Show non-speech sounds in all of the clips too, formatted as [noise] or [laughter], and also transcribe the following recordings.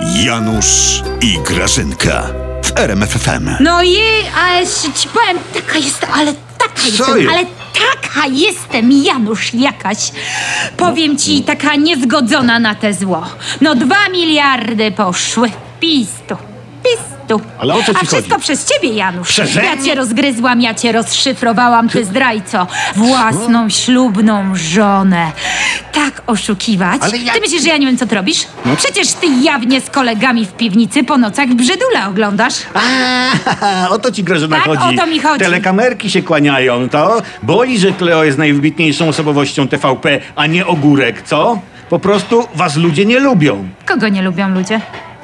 Janusz i Grażynka w RMFFM. No jej, ale się ci powiem, taka jestem, ale taka jestem, jest? ale taka jestem, Janusz jakaś. Powiem ci, taka niezgodzona na te zło. No dwa miliardy poszły. Pistu, pistu. Ale o co ci A wszystko chodzi? przez ciebie, Janusz. Przeze Ja mnie? cię rozgryzłam, ja cię rozszyfrowałam, ty zdrajco. Własną, ślubną żonę. Tak oszukiwać. Ale ja- No. Ty myślisz, że ja nie wiem, co ty robisz? Przecież ty jawnie z kolegami w piwnicy po nocach brzydula oglądasz. A, [laughs] o to ci Grażyna Tak, chodzi. o to mi chodzi. Telekamerki się kłaniają, to boi, że Kleo jest najwybitniejszą osobowością TVP, a nie ogórek, co? Po prostu was ludzie nie lubią. Kogo nie lubią ludzie?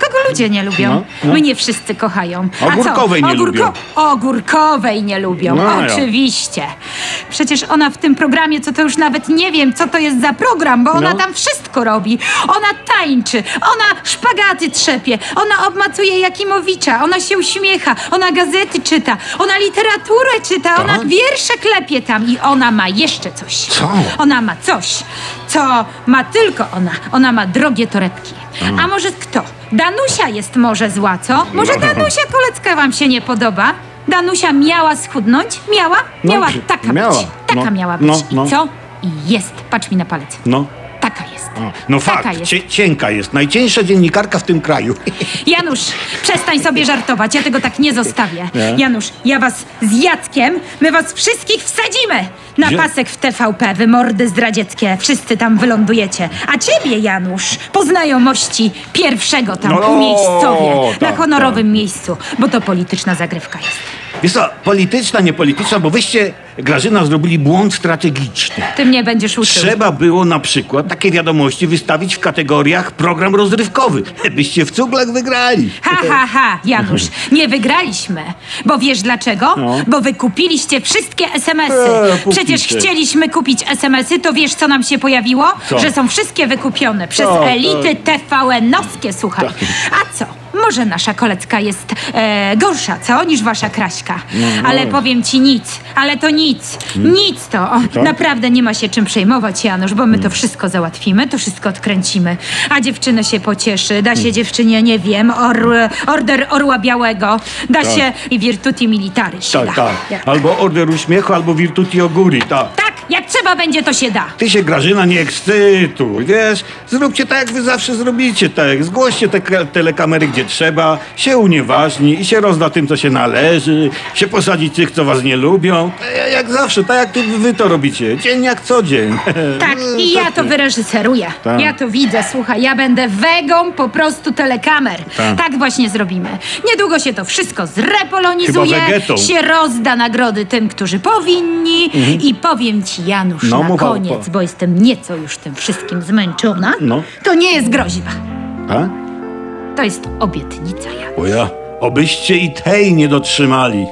Kogo ludzie nie lubią? No, no. Mnie wszyscy kochają. Ogórkowej a nie co? lubią. Ogórkowej nie lubią, No, ja. oczywiście. Przecież ona w tym programie, co to już nawet nie wiem, co to jest za program, bo ona No. tam wszystko robi. Ona tańczy, ona szpagaty trzepie, ona obmacuje Jakimowicza, ona się uśmiecha, ona gazety czyta, ona literaturę czyta, ona Tak. wiersze klepie tam i ona ma jeszcze coś. Co? Ona ma coś, co ma tylko ona. Ona ma drogie torebki. Mm. A może kto? Danusia jest może zła, co? No. Może Danusia Kolecka wam się nie podoba? Danusia miała schudnąć? Miała? No, Miała przy- taka miała. być. Taka No, miała być. no, no. I co? I jest. Patrz mi na palec. No. Taka jest. No Taka fakt, jest. cie, cienka jest. Najcieńsza dziennikarka w tym kraju. [laughs] Janusz, przestań sobie żartować, ja tego tak nie zostawię. Janusz, ja was z Jackiem, my was wszystkich wsadzimy na Gdzie? pasek w TVP, wy mordy zdradzieckie, wszyscy tam wylądujecie. A ciebie, Janusz, po znajomości pierwszego tam No, umiejscowię, na tak, honorowym miejscu, bo to polityczna zagrywka jest. Wiesz co, polityczna, niepolityczna, bo wyście, Grażyna, zrobili błąd strategiczny. Ty mnie będziesz uczył. Trzeba było na przykład takie wiadomości wystawić w kategoriach program rozrywkowy. [laughs] Byście w cuglach wygrali. Ha, ha, ha, Janusz, Mhm. nie wygraliśmy. Bo wiesz dlaczego? Bo wy kupiliście wszystkie SMS-y. Eee, No. kupicie. Przecież chcieliśmy kupić SMS-y, to wiesz co nam się pojawiło? Co? Że są wszystkie wykupione przez Tak, elity TVN-owskie, słuchaj. A co? Może nasza kolecka jest e, gorsza, co? Niż wasza Kraśka. Mm. Ale powiem ci nic, ale to nic, nic to. O, Naprawdę nie ma się czym przejmować, Janusz, bo my Mm. to wszystko załatwimy, to wszystko odkręcimy. A dziewczyna się pocieszy, da Mm. się dziewczynie, nie wiem, or, order Orła Białego, da się i Virtuti Militari się Tak, da. tak. Ja- Albo order uśmiechu, albo virtuti oguri, tak. tak, jak trzeba będzie, to się da. Ty się, Grażyna, nie ekscytuj, wiesz? Zróbcie tak, jak wy zawsze zrobicie, tak. Zgłoście te ke- telekamery, gdzie trzeba, się unieważni i się rozda tym, co się należy, się posadzi tych, co was nie lubią. E, Jak zawsze, tak jak ty, wy to robicie. Dzień jak co dzień. [laughs] Tak, i ja to wyreżyseruję. Tak. Ja to widzę, słuchaj, ja będę wegą po prostu telekamer. Tak. Tak, właśnie zrobimy. Niedługo się to wszystko zrepolonizuje, Chyba, że getą. się rozda nagrody tym, którzy powinni i powiem ci, Janusz, Mhm. No, na mowa o- koniec, bo jestem nieco już tym wszystkim zmęczona, No. to nie jest groźba. A? To jest obietnica, Janusz. Bo ja. Obyście i tej nie dotrzymali.